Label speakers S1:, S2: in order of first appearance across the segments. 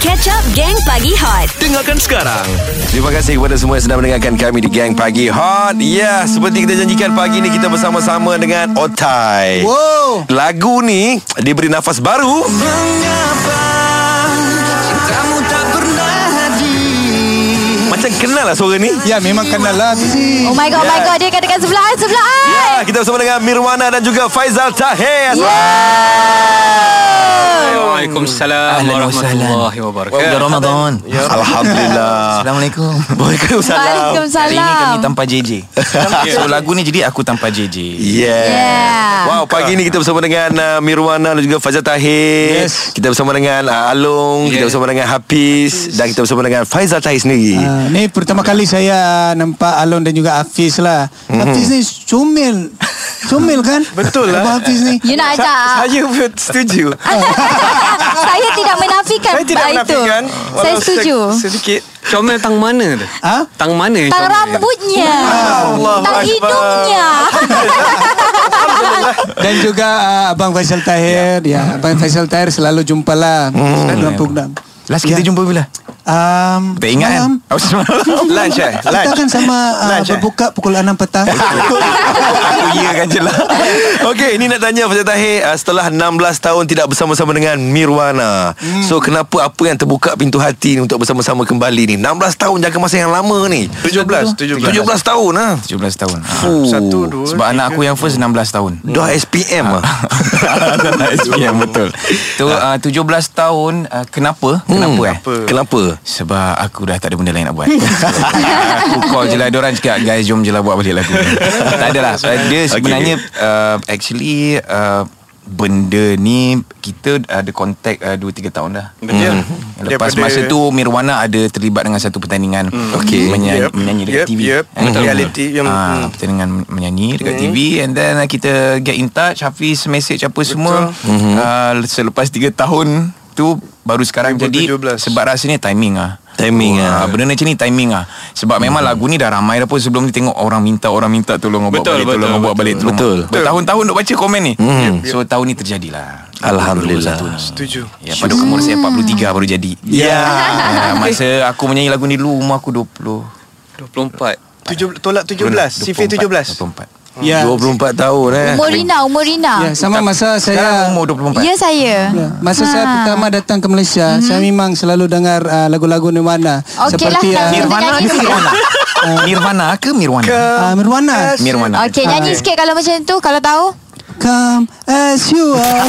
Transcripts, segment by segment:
S1: Catch up Gang Pagi Hot
S2: Dengarkan sekarang
S3: Terima kasih kepada semua yang sedang mendengarkan kami di Gang Pagi Hot. Ya, yeah, seperti kita janjikan pagi ni kita bersama-sama dengan Otai.
S2: Wow
S3: Lagu ni diberi nafas baru
S2: Kamu tak pernah
S3: Macam kenal lah suara ni
S2: Ya memang kenal lah
S1: Oh my god, oh my
S3: Yeah.
S1: god Dia katakan sebelah I, Sebelah I
S3: Ya, kita bersama dengan Mirwana dan juga Faizal
S1: Ya.
S3: Tahir
S4: Waalaikumsalam
S5: Ahlan wa
S4: warahmatullahi wabarakatuh.
S5: Bulan Ramadan.
S3: Ya. Alhamdulillah
S5: Assalamualaikum.
S3: Waalaikumsalam
S5: Hari ini kami
S1: Waalaikumsalam
S5: tanpa JJ. so lagu ni jadi aku tanpa JJ.
S3: Yeah.
S1: Yeah.
S3: Wow, pagi ni kita bersama dengan uh, Mirwana dan juga Faizal Tahir.
S2: Yes.
S3: Kita bersama dengan uh, Alung, kita
S4: Yeah.
S3: bersama dengan Hafiz dan kita bersama dengan Faizal Tahir sendiri.
S2: Uh, ni pertama kali saya nampak Alon dan juga Hafiz lah. Mm-hmm. Hafiz ni comel. Comel kan? Betul lah. Abang Hafiz ni.
S1: You nak ajak
S6: Saya pun setuju
S4: Kan
S1: Saya tidak menafikan
S6: Saya tidak
S1: bab itu.
S6: menafikan
S1: Saya
S6: Walau
S1: setuju
S6: se- Sedikit
S4: Comel tang mana tu?
S2: Ha?
S4: Tang mana yang
S1: Tang
S4: comel?
S1: rambutnya
S3: Allahu
S1: Tang
S3: Akbar.
S1: hidungnya
S2: Dan juga uh, Abang Faisal Tahir. Ya, Abang Faisal Tahir selalu jumpa lah. Mm. Dalam program.
S5: Last kita
S2: Ya.
S5: jumpa bila?
S2: Um,
S5: Tak ingat kan?
S2: malam.
S5: Oh, semalam.
S6: Lunch eh
S2: Kita
S6: Lunch
S2: kan sama
S5: ah,
S2: uh,
S6: Lunch, eh?
S2: berbuka pukul 6 petang.
S5: Aku iya kan je lah.
S3: Okey, ini nak tanya Faizal Tahir uh, setelah 16 tahun tidak bersama-sama dengan Mirwana. So kenapa apa yang terbuka pintu hati ni untuk bersama-sama kembali ni? 16 tahun jangka masa yang lama ni.
S6: 17 17
S3: 17 tahun ah.
S5: 17 tahun. Ha.
S3: Fuh.
S6: Satu dua
S5: Sebab anak aku yang first 16 tahun.
S3: Dah SPM ah.
S5: yang betul. Tu uh, 17 tahun uh, kenapa? Kenapa eh?
S3: Kenapa?
S5: Sebab aku dah tak ada benda lain nak buat Aku call je lah Diorang cakap Guys jom je lah buat balik lagu Tak adalah uh, Dia sebenarnya uh, Actually uh, Benda ni Kita ada kontak uh, 2-3 tahun dah Hmm.
S6: Betul.
S5: Lepas
S6: Daripada- Hmm.
S5: masa tu Mirwana ada terlibat dengan satu pertandingan
S3: Okay.
S5: menyanyi,
S6: Yep,
S5: menyanyi dekat
S6: yep,
S5: TV
S6: yep.
S5: Eh, betul.
S6: Reality yang-
S5: Ah,
S6: hmm.
S5: Pertandingan menyanyi dekat TV And then uh, kita get in touch Hafiz message apa semua
S3: Mhm.
S5: uh, Selepas 3 tahun tu Baru sekarang jadi
S6: 2017.
S5: Sebab rasanya timing ah.
S3: Timing ah. Hmm.
S5: Ah, Benda ni macam ni timing ah. Sebab memang lagu ni dah ramai dah pun sebelum ni tengok orang minta orang minta tolong buat
S4: Betul,
S5: balik
S4: betul,
S5: tolong buat
S4: betul.
S5: balik tolong
S3: Betul. Hmm.
S5: buat. Bertahun-tahun duk baca komen ni. Mm. So tahun ni terjadilah.
S3: Alhamdulillah.
S5: 2021 ni.
S6: Setuju.
S5: Ya, pada umur saya 43 baru jadi.
S3: Ya.
S5: Ah, masa aku menyanyi lagu ni dulu umur aku 20.
S4: 24.
S6: Tujuh- Tolak 17 CV 17
S5: 24.
S2: ya.
S3: 24 tahun eh.
S1: Umur Rina Umur Rina
S2: ya, sama masa saya
S5: Sekarang umur 24.
S1: Ya saya
S2: Ya. Masa ha. saya
S1: Ha.
S2: pertama datang ke Malaysia, mm-hmm. saya memang selalu dengar uh, lagu-lagu Nirwana.
S1: Okey
S2: seperti uh,
S1: lah, lagu-
S5: Nirvana ke Mirwana? Nirvana ke Mirwana?
S2: uh, Nirwana.
S5: Mirwana.
S1: Okay nyanyi sikit kalau macam tu Kalau tahu
S2: Come as you are.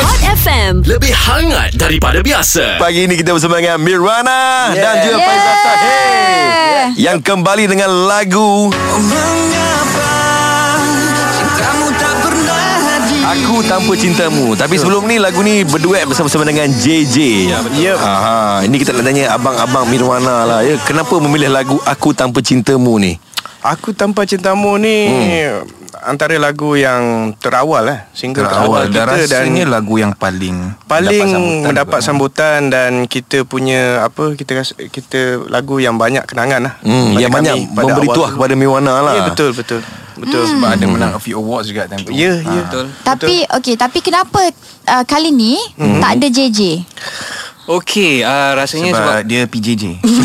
S7: Hot FM
S8: Lebih hangat daripada biasa
S3: Pagi ini kita bersama dengan Mirwana yeah. dan juga
S1: Yeah.
S3: yeah. Faizal Tahir yang kembali dengan lagu Aku Tanpa Cintamu. Tapi sebelum ni lagu ni berduet bersama-sama dengan JJ.
S6: Yep.
S3: Aha, ini kita nak tanya abang-abang Mirwana lah ya. Kenapa memilih lagu Aku Tanpa Cintamu ni?
S6: Aku Tanpa Cintamu ni
S3: Hmm.
S6: Antara lagu yang terawal lah Single terawal,
S5: Awal dan
S6: kita dan
S5: rasanya lagu yang paling
S6: paling
S5: sambutan
S3: eh.
S6: mendapat
S5: juga.
S6: sambutan dan kita punya apa kita rasa, kita lagu yang banyak kenangan lah.
S3: Hmm,
S6: Pada
S3: yang banyak
S6: kami pada
S3: memberi
S6: awal
S3: tuah
S6: dulu.
S3: kepada Mirwana lah.
S6: Ya betul betul. Betul
S5: sebab ada menang a few awards juga time tu.
S6: Ya ya.
S4: Betul.
S1: Tapi okay Tapi kenapa uh, Kali ni Tak ada JJ
S4: Okey, uh, rasanya
S3: Ah,
S5: Sebab,
S4: sebab,
S5: dia PJJ.
S6: Jarak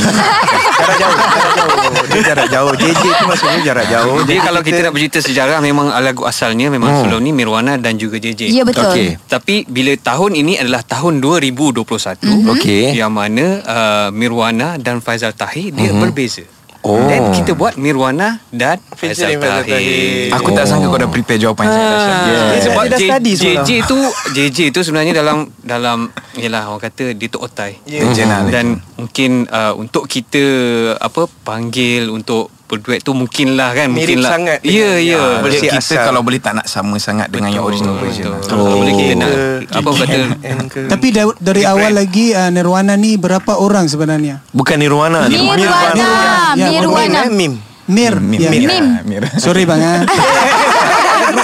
S6: jauh, jarak jauh. Dia jarak jauh. JJ tu maksudnya jarak
S3: Oh,
S6: jauh.
S4: dia kalau kita nak bercerita sejarah memang lagu asalnya memang hmm. sebelum ni Mirwana dan juga JJ.
S1: Ya betul
S3: Okey.
S4: Tapi bila tahun ini adalah tahun 2021
S1: Mhm.
S3: Okey.
S4: yang mana uh, Mirwana dan Faizal Tahir dia berbeza.
S3: Oh.
S4: Dan kita buat Mirwana dan Faizal
S6: Featuring Faizal
S4: Tahir.
S5: Aku tak sangka kau dah prepare jawapan saya.
S4: Eh,
S5: Yeah.
S4: sebab
S6: Dia dah
S4: J,
S6: study semalam.
S4: JJ tu JJ tu sebenarnya dalam dalam yalah orang kata dia tu otai. Mhm.
S6: Yeah.
S5: Legend lah,
S4: Dan mungkin uh, untuk kita apa panggil untuk berduet tu mungkinlah kan
S6: Mirip
S4: mungkinlah.
S6: sangat
S4: Ya yeah,
S6: dengan-
S4: ya.
S6: Ah,
S4: Yeah.
S6: bersih
S5: Kita
S6: asal.
S5: kalau boleh tak nak sama sangat dengan yang original version. lah.
S4: Betul. Oh. Boleh kita nak apa kata
S2: Tapi da- dari awal lagi uh, Nirwana ni berapa orang sebenarnya?
S3: Bukan Nirwana. ni.
S1: Mirwana
S2: Mirwana. Ya,
S1: Mirwana
S6: Mim, eh, Mim.
S2: Mir.
S5: Hmm, Mm, Mir.
S2: Ya.
S5: Mir.
S1: Mim.
S5: Mir.
S2: Sorry bang. ah.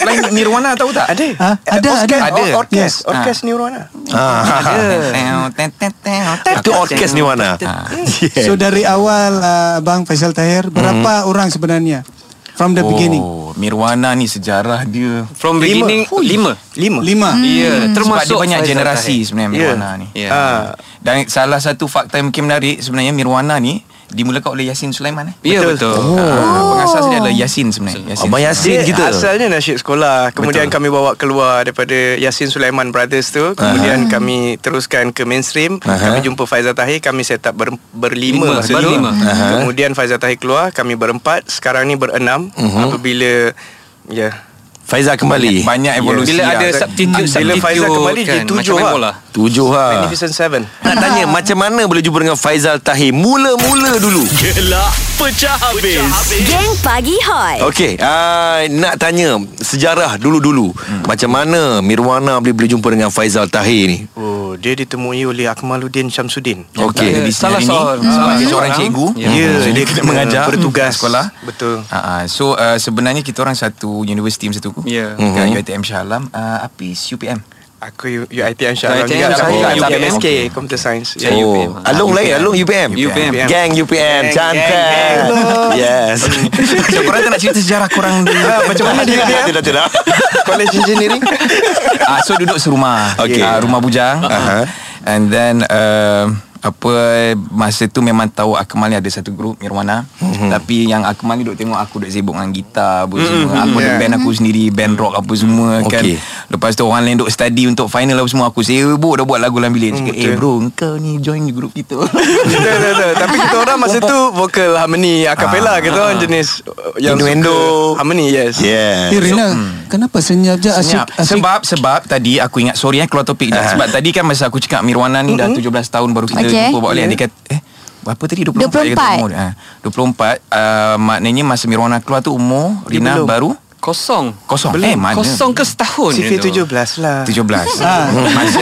S5: Lain Nirwana tahu tak? Ada.
S2: Ha? Ada ada.
S5: Ada.
S6: Or- Orkes,
S5: Yes.
S6: orkes Nirwana.
S3: Ah,
S5: Ah.
S3: Itu orkes Nirwana.
S2: ah, So dari awal uh, Bang Faisal Tahir berapa orang sebenarnya? From the beginning
S5: Oh, Mirwana ni sejarah dia.
S4: From beginning Lima
S6: Lima.
S2: Lima
S4: Ya yeah,
S5: Sebab dia
S4: termasuk
S5: banyak
S4: Faizal
S5: generasi
S4: Tahir.
S5: sebenarnya
S6: Ya.
S5: Mirwana ni.
S4: Ya.
S5: Ah. Dan salah satu fakta yang mungkin menarik sebenarnya Mirwana ni dimulakan oleh Yasin Sulaiman eh.
S4: Ya betul, betul.
S5: Ah,
S4: Oh.
S5: pengasas dia adalah Yasin sebenarnya.
S3: Abang Yasin
S6: Dia
S3: kita
S6: asalnya nasyid sekolah
S3: Betul.
S6: Kemudian Betul. kami bawa keluar Daripada Yasin Sulaiman Brothers tu Kemudian kami teruskan ke mainstream Kami jumpa Faizal Tahir Kami set up ber,
S4: Lima,
S6: berlima masa tu
S4: berlima.
S6: Kemudian Faizal Tahir keluar Kami berempat Sekarang ni berenam Apabila Ya yeah.
S3: Faizal
S4: Ya.
S3: kembali
S5: Banyak evolusi.
S4: Bila
S5: yang-
S4: ada substitute
S6: Bila Faizal kembali,
S4: substitute
S6: dia
S4: kan,
S6: tujuh
S4: Macam main
S6: lah.
S4: bola
S3: Tujuh lah
S6: Magnificent Seven
S3: Nak tanya macam mana boleh jumpa dengan Faizal Tahir Mula-mula dulu
S8: Gelak pecah habis.
S7: Geng Pagi Hot
S3: Okey, uh, nak tanya sejarah dulu-dulu. Hmm. Macam mana Mirwana boleh boleh jumpa dengan Faizal Tahir ni?
S6: Oh, dia ditemui oleh Akmaluddin Syamsuddin.
S5: Dia
S3: Okey.
S4: Eh,
S5: di
S4: Salah
S5: sendiri ni
S4: seorang-
S3: Hmm.
S5: sebagai
S4: Hmm. salah
S5: seorang
S4: seorang.
S5: cikgu.
S4: Ya.
S5: So, dia kena mengajar
S6: bertugas
S5: sekolah.
S6: Betul.
S5: Ha, so uh, sebenarnya kita orang satu universiti masa tu.
S4: Ya.
S5: Kat UiTM Shah Alam, uh, APIS UPM.
S6: Aku U- UiTM Shah
S4: UiTM
S6: Alam juga.
S4: Shah
S6: Aku
S4: Alam.
S6: UPMSK,
S5: UPM.
S6: Computer Science.
S4: Ya,
S6: Oh.
S3: Oh,
S4: UPM.
S3: Along
S5: Ah,
S3: lain,
S5: UPM.
S3: Along UPM.
S4: UPM.
S3: Gang UPM,
S6: Gang,
S3: cantik.
S6: gang, gang.
S3: Yes.
S5: So korang tak nak cerita sejarah korang dulu Macam mana dia
S3: Tidak, tidak, tidak.
S6: College Engineering.
S5: Ah, So duduk serumah
S3: Okay.
S5: Ah, Rumah bujang Ah.
S3: Uh-huh.
S5: And then uh, apa masa tu memang tahu Akmal ni ada satu grup Nirwana
S6: Mhm.
S5: mm-hmm. tapi yang Akmal ni duk tengok aku duk sibuk dengan gitar apa semua mm-hmm. aku ada
S6: Yeah.
S5: band aku sendiri band rock apa semua kan
S3: Okay.
S5: lepas tu orang lain duk study untuk final apa semua aku sibuk dah buat lagu dalam bilik cakap eh bro kau ni join grup kita
S6: Betul, betul, betul. Tapi kita orang masa tu vocal harmony acapella kita orang jenis uh,
S3: Ah.
S6: yang
S3: Innuendo.
S6: suka harmony yes.
S3: Yeah.
S2: Eh Rina Kenapa senyap je asyik,
S5: Senyap.
S2: asyik
S5: Sebab sebab tadi aku ingat sorry eh keluar topik
S6: Ah.
S5: dah. Sebab tadi kan masa aku cakap Mirwana ni dah 17 tahun baru kita
S1: Okay.
S5: jumpa buat balik dia kata eh berapa tadi 24 dia kata
S1: 24.
S5: umur. dia. Ha, 24 uh, maknanya masa Mirwana keluar tu umur Rina
S6: belum.
S5: baru
S4: Kosong
S5: kosong. Eh mana?
S4: Kosong ke setahun
S6: CV
S4: je tu?
S6: 17 lah.
S5: 17 Hmm, Masa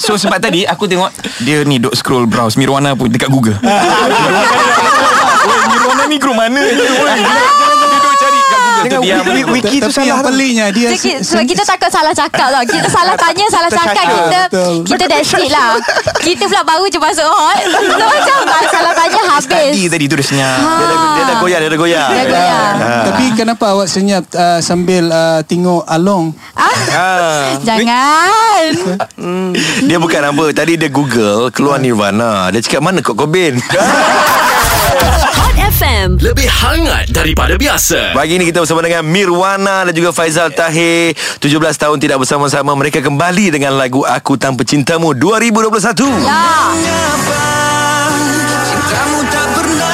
S5: So sebab tadi aku tengok Dia ni duk scroll browse Mirwana pun dekat Google Oi, Mirwana ni grup mana Dia duk- dia duk cari kat Google tu
S6: Jangan
S5: diam.
S6: wiki, wiki tu
S2: Tapi yang
S6: salah.
S2: peliknya Dia
S1: Jadi, sebab kita takut salah cakap lah Kita salah tanya Salah cakap
S6: cakap.
S1: Kita
S2: Betul.
S1: Kita that's it lah Kita pula baru je masuk hot So macam Salah tanya
S5: Tadi
S1: habis
S5: tadi tu dia senyap
S3: Dia dah, dia dah goyang, dia dah goyang.
S1: Ah. Dah
S3: ya.
S1: goyang
S2: Tapi kenapa awak senyap uh, Sambil uh, tengok Along
S1: ah? Jangan
S3: Dia bukan apa. Tadi dia Google, keluar Nirvana. Dia cakap mana Kok Cobain?
S7: Hot FM
S8: Lebih hangat daripada biasa.
S3: Pagi ni kita bersama dengan Mirwana dan juga Faizal Tahir 17 tahun tidak bersama-sama Mereka kembali dengan lagu Aku Tanpa Cintamu 2021
S1: Ya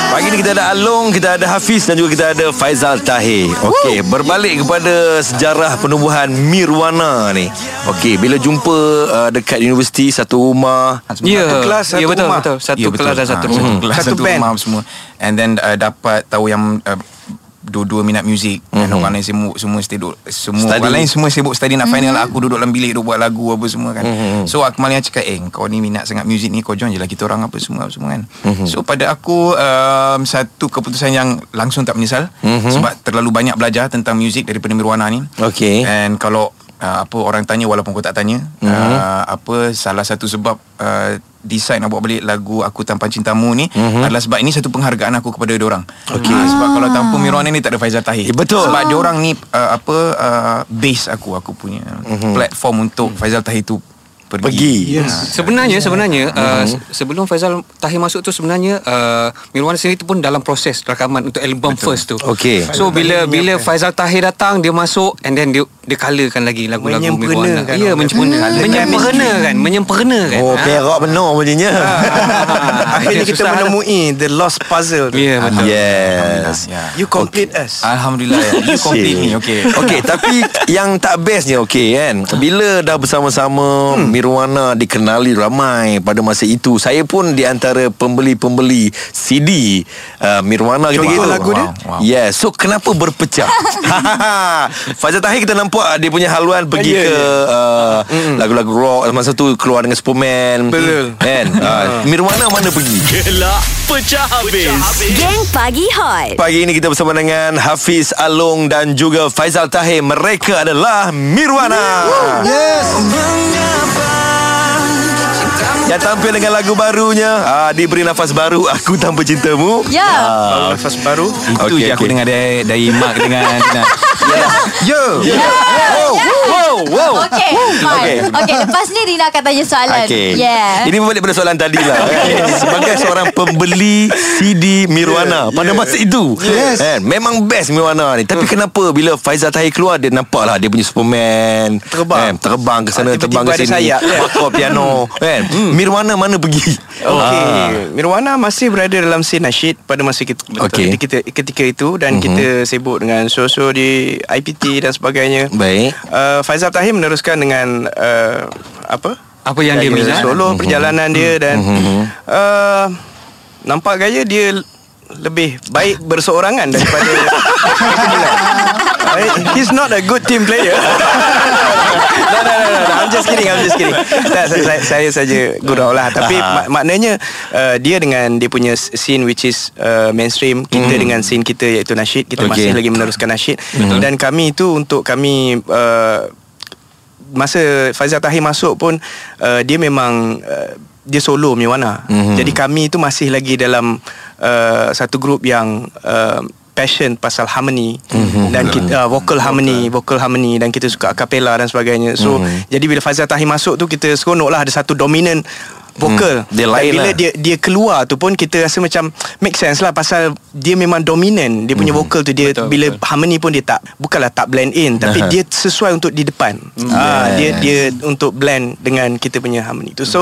S3: Pagi ni kita ada Along, kita ada Hafiz dan juga kita ada Faizal Tahir Okey, berbalik kepada sejarah penubuhan Mirwana ni Okey, bila jumpa uh, dekat universiti satu rumah
S4: Ya
S6: Kan, Satu kelas,
S4: Ya
S6: satu
S4: betul,
S6: rumah.
S4: betul. Satu
S5: Ya, betul.
S4: kelas dan satu
S5: Ah,
S4: rumah
S5: kelas,
S6: Satu
S5: satu,
S6: band.
S5: rumah semua and then uh, dapat tahu yang uh, dua-dua minat muzik mm-hmm.
S6: Mhm.
S5: dan orang lain semua semua sibuk semua
S3: Study.
S5: study. orang lain semua sibuk study nak final lah.
S6: Mhm.
S5: aku duduk dalam bilik duk buat lagu apa semua kan mm-hmm. so Akmal yang cakap eh kau ni minat sangat muzik ni kau join je lah kita orang apa semua apa semua kan mm-hmm.
S6: Mhm.
S5: so pada aku um, satu keputusan yang langsung tak menyesal
S6: Mhm.
S5: mm-hmm. sebab terlalu banyak belajar tentang muzik daripada Mirwana ni
S3: Okey. Mhm.
S5: And kalau uh, apa orang tanya walaupun kau tak tanya, mm-hmm. uh, apa salah satu sebab uh, decide nak buat balik lagu aku tanpa cintamu ni
S3: Mhm.
S5: mm-hmm. adalah sebab ini satu penghargaan aku kepada dia orang. Okay. Uh, sebab kalau tanpa Mirwana ni tak ada Faizal Tahir.
S3: Eh, betul.
S5: Sebab dia orang ni uh, apa uh, base aku aku punya mm-hmm. platform untuk Faizal Tahir tu
S3: Mhm.
S5: pergi.
S3: pergi
S2: Yes
S4: Sebenarnya sebenarnya uh,
S6: Mm-hmm.
S4: se- sebelum Faizal Tahir masuk tu sebenarnya uh, Mirwan sendiri tu pun dalam proses rakaman untuk album Betul. first tu.
S3: Okey.
S4: So bila bila Faizal Tahir datang dia masuk and then dia dia colourkan lagi lagu-lagu Mirwan.
S6: Menyempurnakan
S4: Ya
S6: orang
S4: menyempurna. Menyempurnakan, menyempurnakan. Ah.
S3: Oh, perak benar bunyinya
S6: Ah, Akhirnya kita
S3: lah.
S6: menemui The Lost Puzzle. tu.
S4: Ya betul.
S3: Yes
S5: Ya.
S6: You complete us.
S5: Alhamdulillah. You complete me. Okay.
S3: Okey, tapi yang tak bestnya okey kan. Bila dah bersama-sama hmm. Mirwana dikenali ramai pada masa itu. Saya pun di antara pembeli-pembeli CD uh, Mirwana
S6: Contoh
S3: gitu-gitu.
S6: lagu dia?
S5: Wow, wow.
S3: Yeah, so kenapa berpecah? Faizal Tahir kita nampak dia punya haluan pergi
S6: Yeah,
S3: yeah, ke uh, lagu-lagu rock masa tu keluar dengan Superman.
S6: Betul.
S3: Kan? Uh, Mirwana mana pergi?
S8: Gelak pecah habis.
S7: Geng Pagi Hot
S3: Pagi ini kita bersama dengan Hafiz Along dan juga Faizal Tahir. Mereka adalah Mirwana.
S2: Yes
S3: Mengapa cintamu yang tampil dengan lagu barunya ah, diberi nafas baru aku tanpa cintamu.
S1: Ya.
S3: Ah,
S6: Nafas baru
S3: Okey,
S5: Itu okay, je aku
S3: okey.
S5: dengar dari, dari Mark dengan Tina.
S3: Yo. Wow, wow, wow.
S1: Okay,
S3: Okay.
S1: fine. Okay, lepas ni Rina akan tanya soalan.
S3: Okey.
S1: Yeah.
S3: Ini berbalik pada soalan tadi lah. Sebagai seorang pembeli CD Mirwana yeah, pada yeah. masa itu.
S2: Yes.
S3: Kan? Memang best Mirwana ni. Tapi
S6: Hmm.
S3: kenapa bila Faizal Tahir keluar dia nampak lah dia punya Superman.
S6: Terbang.
S3: Kan? Terbang ke sana,
S6: Ah,
S3: terbang ke
S6: tiba-tiba ada
S3: sini.
S6: sayap, kan? Hmm.
S3: Bakar piano. Kan? Mirwana mana pergi?
S6: Okey,
S3: Ah.
S6: Mirwana masih berada dalam scene nasyid pada masa kita,
S3: Okey.
S6: ketika, ketika itu
S3: Mhm.
S6: dan mm-hmm. kita sibuk dengan show-show di IPT dan sebagainya.
S3: Baik.
S6: Uh, Faizal Tahir meneruskan dengan uh, apa?
S4: Apa yang dia
S6: Gaya
S4: minat. Mhm.
S6: Solo perjalanan dia dan uh, nampak gaya dia lebih baik berseorangan daripada kesimpulan. I- He's not a good team player. no, no, no, no, no. I'm just kidding. I'm just kidding. Tak, saya, saya, saya saja gurau lah. Tapi mak- maknanya uh, dia dengan dia punya scene which is uh, mainstream. Kita
S4: Mhm.
S6: dengan scene kita iaitu nasyid. Kita
S3: Okay.
S6: okay. masih lagi meneruskan nasyid. Dan kami itu untuk kami... Uh, masa Faizal Tahir masuk pun uh, dia memang uh, dia solo punya warna.
S3: Mhm.
S6: Mm-hmm. Jadi kami itu masih lagi dalam uh, satu grup yang uh, passion pasal harmony
S3: Mhm.
S6: mm-hmm. dan kita uh, vocal harmony, vocal harmony dan kita suka acapella dan sebagainya. So
S3: Mhm.
S6: mm-hmm. jadi bila Faizal Tahir masuk tu kita seronok lah ada satu dominant vokal.
S3: Hmm, dia
S6: Dan
S3: lain
S6: bila
S3: lah.
S6: dia dia keluar tu pun kita rasa macam make sense lah pasal dia memang dominant dia
S3: Mhm.
S6: punya vokal tu dia betul, bila betul. harmony pun dia tak bukanlah tak blend in tapi dia sesuai untuk di depan
S3: Mhm.
S6: ah dia dia untuk blend dengan kita punya harmony tu
S3: Hmm.
S6: so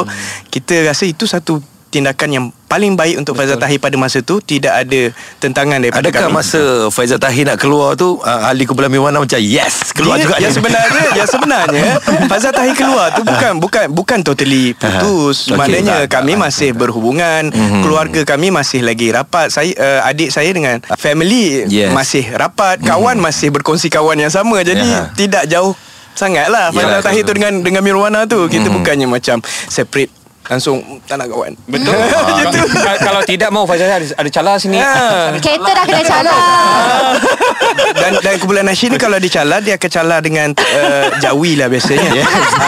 S6: kita rasa itu satu tindakan yang paling baik untuk Faizal Tahir pada masa tu tidak ada tentangan daripada
S3: Adakah
S6: kami
S3: masa Faizal Tahir nak keluar tu ah, Ahli kumpulan Mirwana macam Yes Keluar
S6: dia,
S3: juga
S6: yang Ya, sebenarnya yang sebenarnya Faizal Tahir keluar tu bukan bukan bukan totally putus
S3: Aha. Ah. Okey,
S6: maknanya
S3: tak, Hmm.
S6: kami masih berhubungan keluarga kami masih lagi rapat saya uh, adik saya dengan family
S3: Yes. Hmm.
S6: masih rapat kawan masih berkongsi kawan yang sama jadi
S3: Aha.
S6: tidak jauh sangat lah
S3: Yalah,
S6: Faizal Tahir
S3: betul. Hmm.
S6: tu dengan dengan Mirwana tu kita bukannya macam separate langsung tak nak kawan
S4: Betul.
S3: Ah.
S4: Ah, Kalau- Kalau tidak mau Faizal ada, ada calar sini.
S6: Ah.
S1: Kereta dah kena calar.
S6: dan dan kumpulan nasyid ni kalau dicalar dia akan calar dengan uh, Jawi lah biasanya. ha,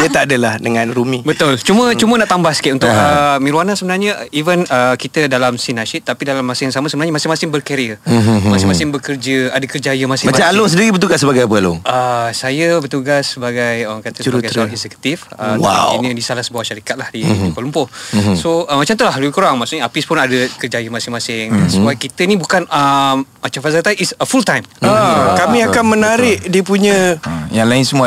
S6: dia tak adalah dengan Rumi.
S4: Betul. Cuma hmm. cuma nak tambah sikit untuk uh, Mirwana sebenarnya even uh, kita dalam scene nasyid tapi dalam masa yang sama sebenarnya masing-masing berkarier. Masing-masing bekerja, ada kerjaya masing-masing.
S3: Macam Alung sendiri bertugas sebagai apa Alung?
S4: Uh, saya bertugas sebagai orang kata sebagai
S6: Jurutera.
S4: seorang eksekutif uh,
S3: Wow.
S4: ini di salah sebuah syarikat lah di, di Kuala Lumpur. So uh, macam tu lah lebih kurang maksudnya Apis pun ada kerjaya masing-masing. Sebab kita ni bukan um, macam Fazal Tahir is a full time. Ah,
S6: Ha, kami akan menarik dia punya
S5: Ha, Yang lain semua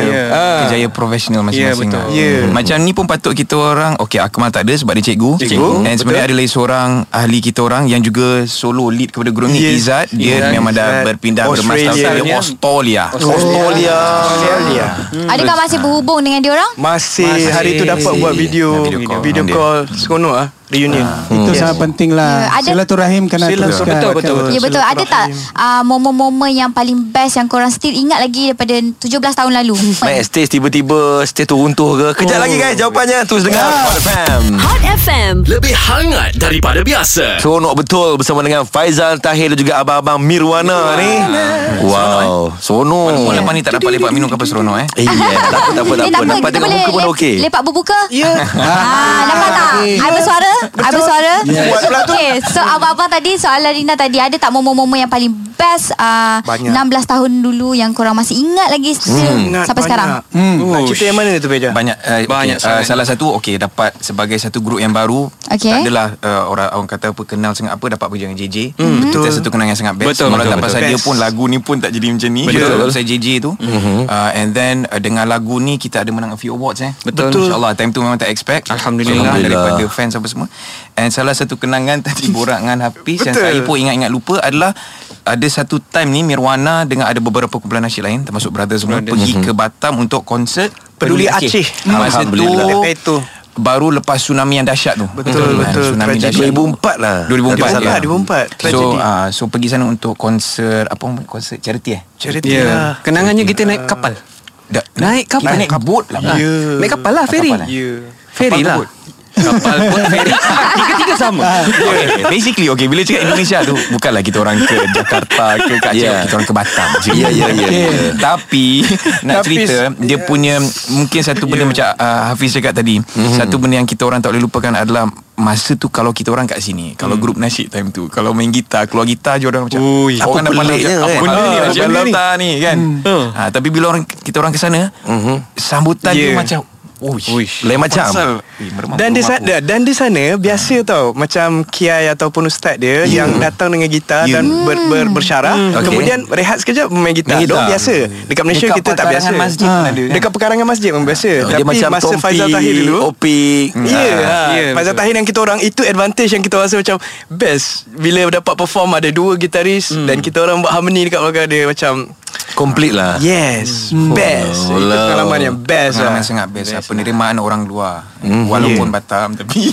S5: ada
S6: Ya.
S5: kerjaya, yeah. kerjaya profesional
S4: Ya,
S5: masing-masing. lah.
S4: betul.
S6: Ya.
S5: Macam ni pun patut kita orang, okay Akmal tak ada sebab dia cikgu.
S6: Cikgu,
S5: Dan sebenarnya ada
S6: betul.
S5: lagi seorang ahli kita orang yang juga solo lead kepada grup ni,
S6: Yes.
S5: Izzat. Dia
S6: Izzat.
S5: memang dah
S6: Izzat.
S5: berpindah
S6: Australia.
S5: bermasters dia Australia.
S3: Australia.
S6: Australia.
S1: Adakah masih berhubung dengan dia orang?
S6: Masih,
S4: Masih.
S6: hari tu dapat buat video
S5: Video
S6: video
S5: call.
S6: call, video
S5: Dia.
S6: call. seronok ah reunion.
S2: Itu sangat penting lah.
S1: Ya, ada-
S2: Silaturahim kena
S6: Silaturahim.
S2: teruskan.
S4: Hmm. Betul, betul, betul.
S2: Kan?
S1: Ya betul Ada tak uh, Momen-momen yang paling best Yang korang still ingat lagi Daripada 17 tahun lalu
S3: Naik stage tiba-tiba Stage tu runtuh ke Kejap oh. lagi guys jawapannya Terus dengar Hot FM
S7: Hot FM.
S8: Lebih hangat daripada biasa.
S3: Seronok betul bersama dengan Faizal Tahir dan juga abang-abang Mirwana ni. Wow,
S5: Walaupun
S3: seronok.
S5: lepas ni tak dapat lepak minum kapal seronok eh.
S3: Eh, yeah. tak apa, tak apa, tak
S1: Eh,
S3: apa. Nampak
S1: kita
S3: tengok
S1: boleh
S3: muka pun
S1: lep-
S3: okey.
S1: Lepak berbuka
S6: Ya.
S1: Ah, nampak tak? I bersuara? I bersuara?
S6: Buat pula tu.
S1: Okay, so abang-abang tadi soalan Rina tadi ada tak momen-momen yang paling best uh,
S6: Banyak.
S1: 16 tahun dulu yang korang masih ingat lagi hmm.
S6: Ingat
S1: sampai sekarang?
S6: banyak. Hmm. Nak cerita yang mana tu Beja?
S5: Banyak uh,
S4: Banyak
S5: banyak okay. uh,
S4: sangat.
S5: salah satu okey dapat sebagai satu grup yang baru
S1: Okey.
S5: tak adalah uh, orang orang kata apa kenal sangat apa dapat pergi dengan JJ mm, betul kita satu kenangan yang sangat best
S4: Hmm, Betul,
S5: Kalau
S4: betul,
S5: tak
S4: betul.
S5: pasal dia
S6: Best.
S5: pun lagu ni pun tak jadi macam ni
S4: Betul. Mhm.
S5: Betul. pasal JJ tu mm-hmm. uh, and then uh, dengan lagu ni kita ada menang a few awards eh
S4: Betul.
S5: insyaallah time tu memang tak expect
S4: Alhamdulillah.
S5: daripada fans apa semua and salah satu kenangan tadi borak dengan Hafiz yang
S6: Betul.
S5: saya pun ingat-ingat lupa adalah ada satu time ni Mirwana dengan ada beberapa kumpulan nasyid lain termasuk brother semua pergi
S4: Mhm.
S5: ke Batam untuk konsert
S6: Peduli Aceh.
S5: Masa
S3: Alhamdulillah.
S5: tu
S6: Lepas tu.
S5: Baru lepas tsunami yang dahsyat tu
S6: Betul,
S5: Kan,
S6: betul.
S5: Tsunami
S6: Tragedi.
S5: dahsyat
S3: 2004 lah.
S5: 2004
S6: 2004,
S5: ya.
S6: 2004.
S5: So
S6: Tragedi.
S5: uh, so pergi sana untuk konser Apa orang panggil, konser charity eh
S6: Cerita.
S4: Ya. Yeah.
S6: Yeah.
S4: Kenangannya kita naik kapal.
S5: Da-
S4: Naik kapal.
S5: Naik kabut lah
S4: Ah, Naik kapal lah ferry.
S5: Kapal, eh?
S6: Ya.
S4: Ferry
S5: Kapal
S4: lah.
S5: kabut.
S4: Kapal pun ferry Tiga-tiga sama
S5: Okay, basically okay bila cakap Indonesia tu bukanlah kita orang ke Jakarta ke kat
S3: Yeah.
S5: yeah. kita orang ke Batam je.
S3: Yeah, yeah, yeah,
S5: Okay.
S3: yeah.
S5: Tapi nak
S6: Tapi,
S5: cerita dia punya mungkin satu benda macam uh, Hafiz cakap tadi, satu benda yang kita orang tak boleh lupakan adalah masa tu kalau kita orang kat sini, kalau grup nasyid time tu, kalau main gitar, keluar gitar je orang macam
S4: Ui.
S5: apa
S3: Oh,
S5: nak pandang
S3: peliknya,
S5: apa
S3: kan?
S5: benda ni
S4: Ah,
S5: macam
S4: benda ni.
S5: ni. ni kan. Ha, tapi bila orang kita orang ke sana, sambutan dia
S6: Yeah.
S5: macam Uish.
S4: Uish.
S3: Lain macam.
S5: Eh, meremang
S6: Dan di
S5: rumah aku.
S6: sana dan di sana biasa tau macam kiai ataupun ustaz dia yeah. yang datang dengan gitar
S5: Ya.
S6: yeah. dan ber, ber, bersyarah
S3: Okay.
S6: okay. kemudian rehat sekejap main gitar.
S3: Main gitar.
S6: Diorang biasa. Dekat Malaysia
S5: Dekat
S6: kita tak biasa.
S5: perkarangan masjid pun
S6: Ah.
S5: ada, kan?
S6: Dekat perkarangan masjid memang biasa.
S3: Dia
S6: Tapi
S3: macam
S6: masa
S3: Tompi,
S6: Faizal Tahir dulu
S3: Opik
S6: Ya yeah,
S3: Ah.
S6: ha.
S4: Ya,
S6: yeah, Faizal
S4: betul.
S6: Tahir dan kita orang Itu advantage yang kita rasa macam Best Bila dapat perform Ada dua gitaris Dan kita orang buat harmony Dekat belakang dia Macam
S3: Complete lah
S5: Ya.
S6: Yes Best
S3: Oh,
S6: Itu
S3: lah.
S6: pengalaman yang best
S5: Pengalaman
S6: lah
S5: sangat best, lah. Penerimaan orang luar Walaupun Batam Tapi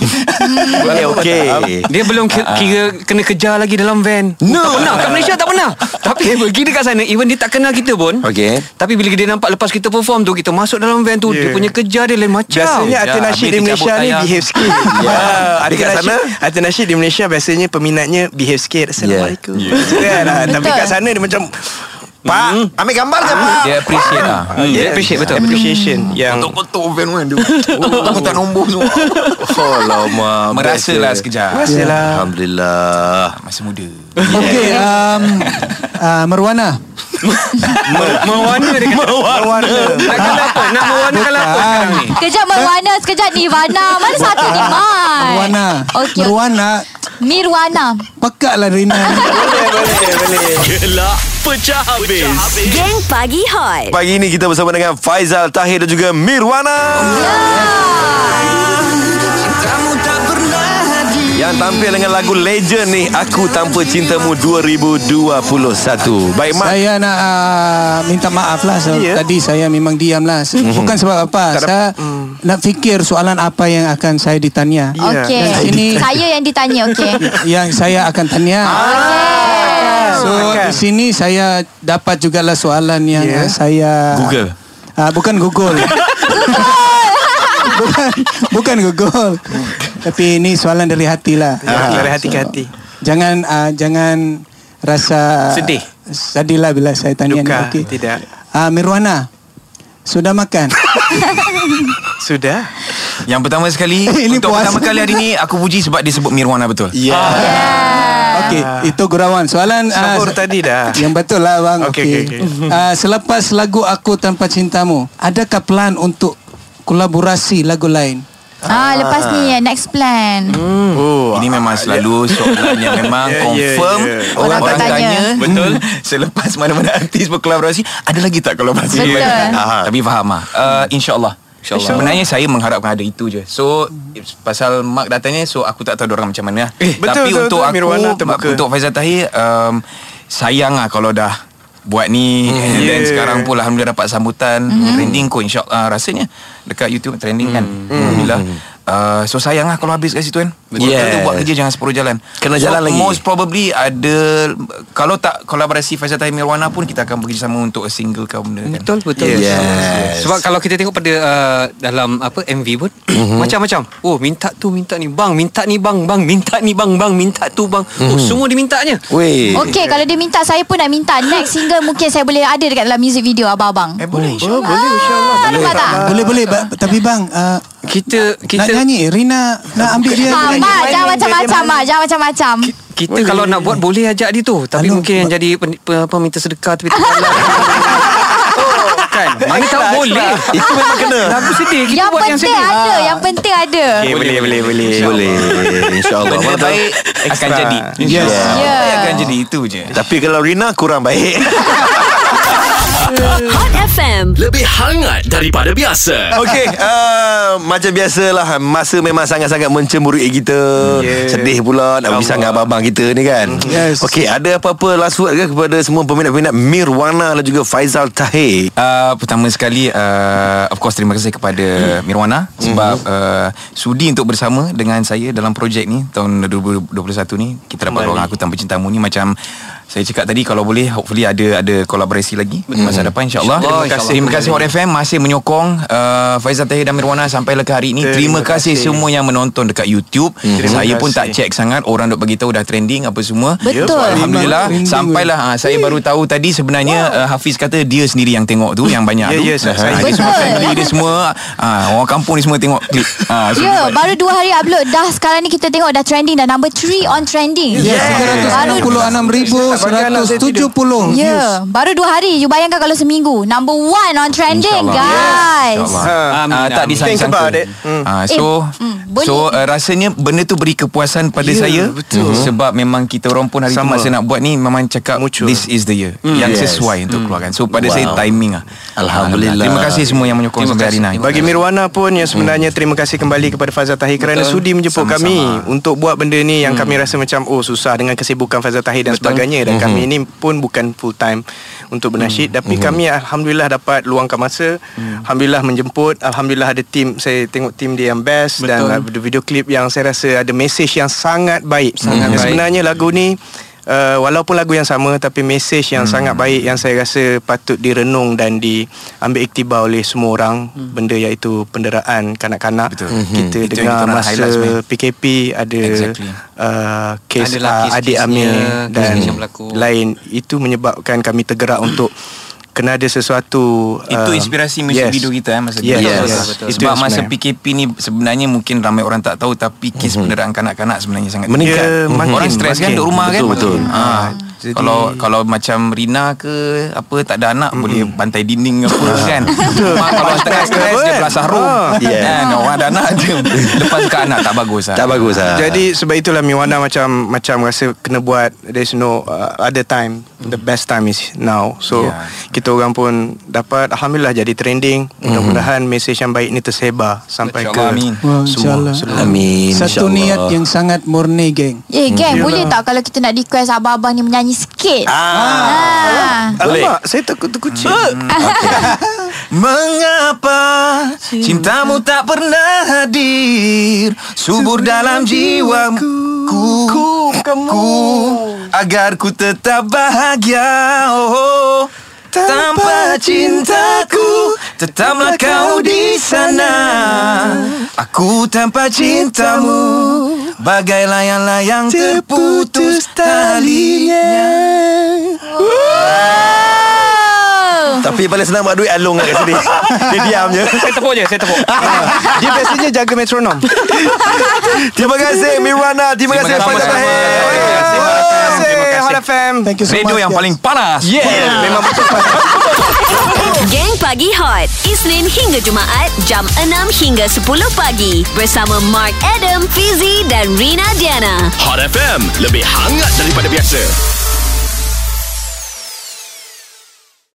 S3: Okay, okay.
S4: Ah, Dia belum ki- kira Kena kejar lagi dalam van
S3: Eh. No.
S4: Tak pernah Kat Malaysia tak pernah Tapi pergi dekat sana Even dia tak kenal kita pun
S3: Okay.
S4: Tapi bila dia nampak Lepas kita perform tu Kita masuk dalam van tu Dia
S6: Yeah.
S4: punya kejar dia lain macam
S6: Biasanya
S5: Ya,
S6: Atin Nasheed
S5: habis
S6: di
S5: dia
S6: Malaysia
S5: cabut
S6: ni
S5: tayar.
S6: behave sikit Ya
S3: Dekat
S6: Atin
S3: sana?
S6: Nasheed Atin Nasheed di Malaysia Biasanya peminatnya behave sikit Assalamualaikum Gitu kan? Ah, Tapi
S1: Betul.
S6: kat sana dia macam
S3: Pak Ambil gambar ke Pak
S5: Dia appreciate lah
S3: Ah,
S4: Hmm, Dia appreciate betul
S6: Appreciation Yang
S5: Kotak-kotak van kan dia Orang tak nombor semua
S3: Oh lama
S5: Merasa lah sekejap
S6: Merasalah
S3: Alhamdulillah
S5: Masa muda
S2: Okay um, uh, Merwana
S4: Mewarna dia kata
S2: Merwana
S4: Nak kala apa Nak mewarna kala apa
S2: Bukan.
S4: sekarang ni
S1: Kejap Merwana Sekejap Nirvana Mana satu ni Mai
S2: Merwana
S1: Okey
S2: Merwana
S1: Mirwana
S2: Pekak lah Rina ni.
S8: Gelak pecah habis.
S7: Geng Pagi Hot.
S3: Pagi ini kita bersama dengan Faizal Tahir dan juga Mirwana Yang tampil dengan lagu legend ni Aku Tanpa Cintamu 2021 Baik Mak
S2: Saya nak uh, minta maaf lah so,
S6: Ya.
S2: Tadi saya memang diam lah Se-
S4: Mhm.
S2: Bukan sebab apa Saya
S4: Hmm.
S2: nak fikir soalan apa yang akan saya ditanya
S6: Ya.
S1: Okey
S2: Dan sini
S1: Saya yang ditanya Okey
S2: Yang saya akan tanya So
S6: Ah, Akan.
S2: di sini saya dapat jugalah soalan yang yeah.
S6: Ya.
S2: saya
S5: Google.
S2: Ah, bukan Google. bukan, bukan Google. Tapi ini soalan dari hati lah.
S6: Ya, Dari hati ke hati
S2: Jangan ah, jangan rasa
S4: Sedih.
S2: Sedih lah bila saya tanya
S6: Duka,
S2: ni. Okey.
S6: tidak.
S2: Ah, Mirwana. Sudah makan?
S6: Sudah
S5: Yang pertama sekali
S2: Ini
S5: Untuk
S2: puasa.
S5: pertama kali hari ni Aku puji sebab dia sebut Mirwana betul
S3: Ya
S2: Okey, itu gurauan. Soalan ah,
S6: Sahur tadi dah
S2: Yang betul lah bang.
S6: Okey,
S2: Okey.
S6: okey,
S2: Ah, selepas lagu Aku Tanpa Cintamu, adakah plan untuk kolaborasi lagu lain?
S1: Ah, Lepas ni eh, Next plan
S6: Oh
S5: Ini memang selalu soalan yang memang
S6: Yeah, yeah,
S5: confirm
S6: yeah.
S5: Orang,
S1: Orang
S5: orang
S1: tanya.
S5: tanya Betul Selepas mana-mana artis berkolaborasi Ada lagi tak kolaborasi
S1: Betul.
S5: Ah, Tapi faham lah uh, InsyaAllah InsyaAllah Sebenarnya saya mengharapkan ada itu je So Pasal Mark datangnya So aku tak tahu orang macam mana lah.
S6: Eh, betul,
S5: Tapi
S6: betul,
S5: untuk
S6: betul.
S5: aku
S6: Mirwana terbuka.
S5: Untuk Faizal Tahir um, Sayang lah kalau dah Buat ni hmm, And then
S6: Yeah.
S5: sekarang pun Alhamdulillah dapat sambutan Trending kot insyaAllah Ah, Rasanya Dekat YouTube trending kan Alhamdulillah Uh, so sayang lah kalau habis kat situ kan Betul
S3: Yes.
S5: tu buat kerja jangan separuh jalan
S3: Kena
S5: so,
S3: jalan lagi.
S5: Most probably ada Kalau tak kolaborasi Faizal Tahir Mirwana pun Kita akan bekerjasama untuk a single ke benda kan
S4: Betul betul.
S3: Yes.
S4: betul.
S3: Yes.
S4: Sebab kalau kita tengok pada uh, dalam apa MV pun macam-macam. Oh minta tu minta ni bang, minta ni bang, bang minta ni bang, bang minta tu bang. Oh semua dimintanya.
S3: Weh
S1: Okey, kalau dia minta saya pun nak minta next single mungkin saya boleh ada dekat dalam music video abang-abang.
S5: Eh boleh
S6: Oh, boleh insyaAllah
S1: Ah, nampak tak?
S2: Boleh boleh ba- tapi bang ah,
S4: Kita
S2: nak
S4: kita
S2: nyanyi Rina nak ambil dia
S1: Ah,
S2: nyanyi.
S1: mak, jangan
S6: main,
S1: macam-macam,
S6: dia
S1: mak. Jangan macam-macam.
S4: kita boleh. kalau nak buat boleh ajak dia tu. Tapi
S2: Aduh,
S4: mungkin yang jadi pen, pe- apa minta sedekah tapi tak halal. Oh, kan. Mana tahu boleh.
S3: Itu memang kena
S4: Lagu sedih kita
S1: Yang
S4: buat yang
S1: penting
S4: sedih.
S1: ada, yang penting ada.
S6: Okay, boleh, boleh, boleh.
S3: Boleh InsyaAllah
S5: Benda
S3: Mana tahu-
S5: baik Akan
S6: Extra.
S5: jadi
S2: Yes.
S1: Ya.
S5: Baik akan jadi itu je
S3: Tapi kalau Rina kurang baik
S7: Hot FM.
S8: Lebih hangat daripada biasa.
S3: Okey, uh, macam biasalah masa memang sangat-sangat mencemburui kita. Yeah.
S6: Yeah.
S3: Sedih pula nak berpisah dengan abang kita ni kan.
S2: Yes.
S3: Okey, ada apa-apa last word ke kepada semua peminat-peminat Mirwana dan juga Faizal Tahir?
S5: Uh, pertama sekali uh, Of course terima kasih kepada Mirwana Sebab uh, Sudi untuk bersama Dengan saya dalam projek ni Tahun 2021 ni Kita dapat ruang Aku Tanpa Cintamu ni Macam saya cakap tadi kalau boleh hopefully ada ada kolaborasi lagi Betul. masa depan insyaallah.
S4: Insyaallah,
S5: Terima kasih terima kasih Hot FM masih menyokong uh, Faizal Tahir dan Mirwana sampailah ke hari ini. Terima,
S6: Terima
S5: kasih,
S6: kasih.
S5: semua yang menonton dekat YouTube.
S6: Terima
S5: Saya pun
S6: kasih.
S5: tak check sangat orang dok bagi tahu dah trending apa semua.
S1: Betul.
S5: Alhamdulillah
S2: Memang trending
S5: Sampailah ha, Saya baru tahu tadi Sebenarnya uh, Hafiz kata Dia sendiri yang tengok tu Yang banyak tu
S6: Ya, ya, saya-
S5: Ah, Dia
S1: Betul.
S5: semua family Dia semua ah, Orang kampung ni semua tengok klip ha, so,
S1: Ya, yeah, baru dua hari upload dah sekarang ni kita tengok dah trending dah number 3 on trending.
S2: Yes,
S1: Baru
S2: 366,170
S1: Ya, yeah, baru dua hari. You bayangkan kalau seminggu number one on trending, guys.
S5: InsyaAllah Ah,
S6: Ha.
S5: Tak
S4: Amin.
S6: Think
S5: disangka-sangka
S6: about it. Hmm.
S5: Ah, So
S1: Eh, mm, boleh.
S5: So uh, rasanya Benda tu beri kepuasan pada
S6: Ya,
S5: saya Mhm.
S6: betul.
S5: Sebab memang kita orang pun Hari
S6: Sama.
S5: Sama. tu masa nak buat ni Memang cakap
S6: Muncul. Hmm.
S5: This is the year Yang
S3: Yes.
S5: sesuai
S1: Hmm.
S5: untuk keluarkan So pada saya
S3: Wow.
S5: timing lah
S3: Alhamdulillah.
S5: Terima kasih semua yang menyokong
S4: Terima
S5: Sampai hari
S4: kasih.
S5: ini
S6: Bagi Mirwana pun yang sebenarnya terima kasih kembali kepada Fazal Tahir kerana
S4: Betul.
S6: sudi menjemput
S5: Sama-sama.
S6: kami untuk buat benda ni yang kami rasa macam oh susah dengan kesibukan Fazal Tahir dan sebagainya dan kami ni pun bukan full time untuk bernasib tapi kami alhamdulillah dapat luangkan masa alhamdulillah menjemput alhamdulillah ada tim saya tengok tim dia yang best dan
S4: Betul.
S6: ada video klip yang saya rasa ada message yang sangat baik
S4: Sangat
S6: Dan
S4: baik.
S6: sebenarnya lagu ni Uh, walaupun lagu yang sama tapi mesej yang hmm. sangat baik yang saya rasa patut direnung dan diambil iktibar oleh semua orang hmm. benda iaitu penderaan kanak-kanak Betul. kita
S5: Itu yang
S6: dengar
S5: kita nak
S6: masa
S5: highlight sebenarnya.
S6: PKP ada
S5: Exactly.
S6: uh, kes
S4: Adalah
S6: uh, adik
S4: kes-kesnya,
S6: Amir dan
S4: kes-kes yang berlaku.
S6: lain itu menyebabkan kami tergerak untuk kena ada sesuatu
S5: Itu
S6: uh,
S5: inspirasi muzik
S6: yes.
S5: video kita eh masa
S6: yes.
S5: tu.
S6: Yes.
S4: Betul,
S6: Yes.
S4: betul.
S5: Sebab
S6: Itu
S5: masa
S6: sebenarnya. Mhm.
S5: PKP ni sebenarnya mungkin ramai orang tak tahu tapi kes penderaan kanak-kanak sebenarnya sangat
S6: Meningkat.
S5: tinggi.
S6: Mhm. makin,
S5: orang stres kan
S6: makin.
S5: duduk rumah kan.
S3: Betul, betul.
S5: Ha. Kalau kalau macam Rina ke apa tak ada anak boleh
S6: Mhm.
S5: bantai dinding ke apa
S6: Ah.
S5: kan. Mak kalau tengah stres dia
S6: Kan?
S5: belasah room.
S3: Yeah.
S5: Kan orang ada anak dia lepas ke anak tak bagus lah.
S3: Tak bagus lah
S6: Jadi sebab itulah Miwana macam macam rasa kena buat there's no uh, other time.
S5: Hmm.
S6: The best time is now. So
S5: Yeah.
S6: yeah. kita orang pun dapat alhamdulillah jadi trending. Mudah-mudahan mesej yang baik ni tersebar sampai ke
S5: InsyaAllah, Hmm. amin.
S2: Wah,
S6: semua.
S2: insyaAllah.
S6: seluruh-
S3: Amin
S2: Satu
S3: insyaAllah.
S2: niat yang sangat murni geng
S1: Eh, geng, boleh tak kalau kita nak request abang-abang ni menyanyi sikit? Ah.
S3: Boleh.
S6: Alamak, saya takut terkucing.
S5: Mengapa cintamu tak pernah hadir Subur dalam jiwaku ku, kamu Agar ku tetap bahagia oh, Tanpa cintaku Tetaplah kau di sana Aku tanpa cintamu Bagai layang-layang terputus talinya
S3: Tapi paling senang buat duit Along lah kat sini Dia diam je
S4: Saya tepuk je, saya tepuk.
S6: Dia biasanya jaga metronom.
S3: Terima kasih Mirwana Terima kasih
S5: kasih,
S3: Fazal
S5: sama-sama.
S3: Tahir
S5: Terima kasih,
S6: Terima kasih. Hot FM.
S2: Thank you so
S5: Radio
S2: much
S5: yang
S2: guys.
S5: paling panas
S6: Yeah. Memang betul.
S7: Gang Pagi Hot. Isnin hingga Jumaat, jam 6 hingga 10 pagi. Bersama Mark Adam, Fizi dan Rina Diana.
S8: Hot FM Lebih hangat daripada biasa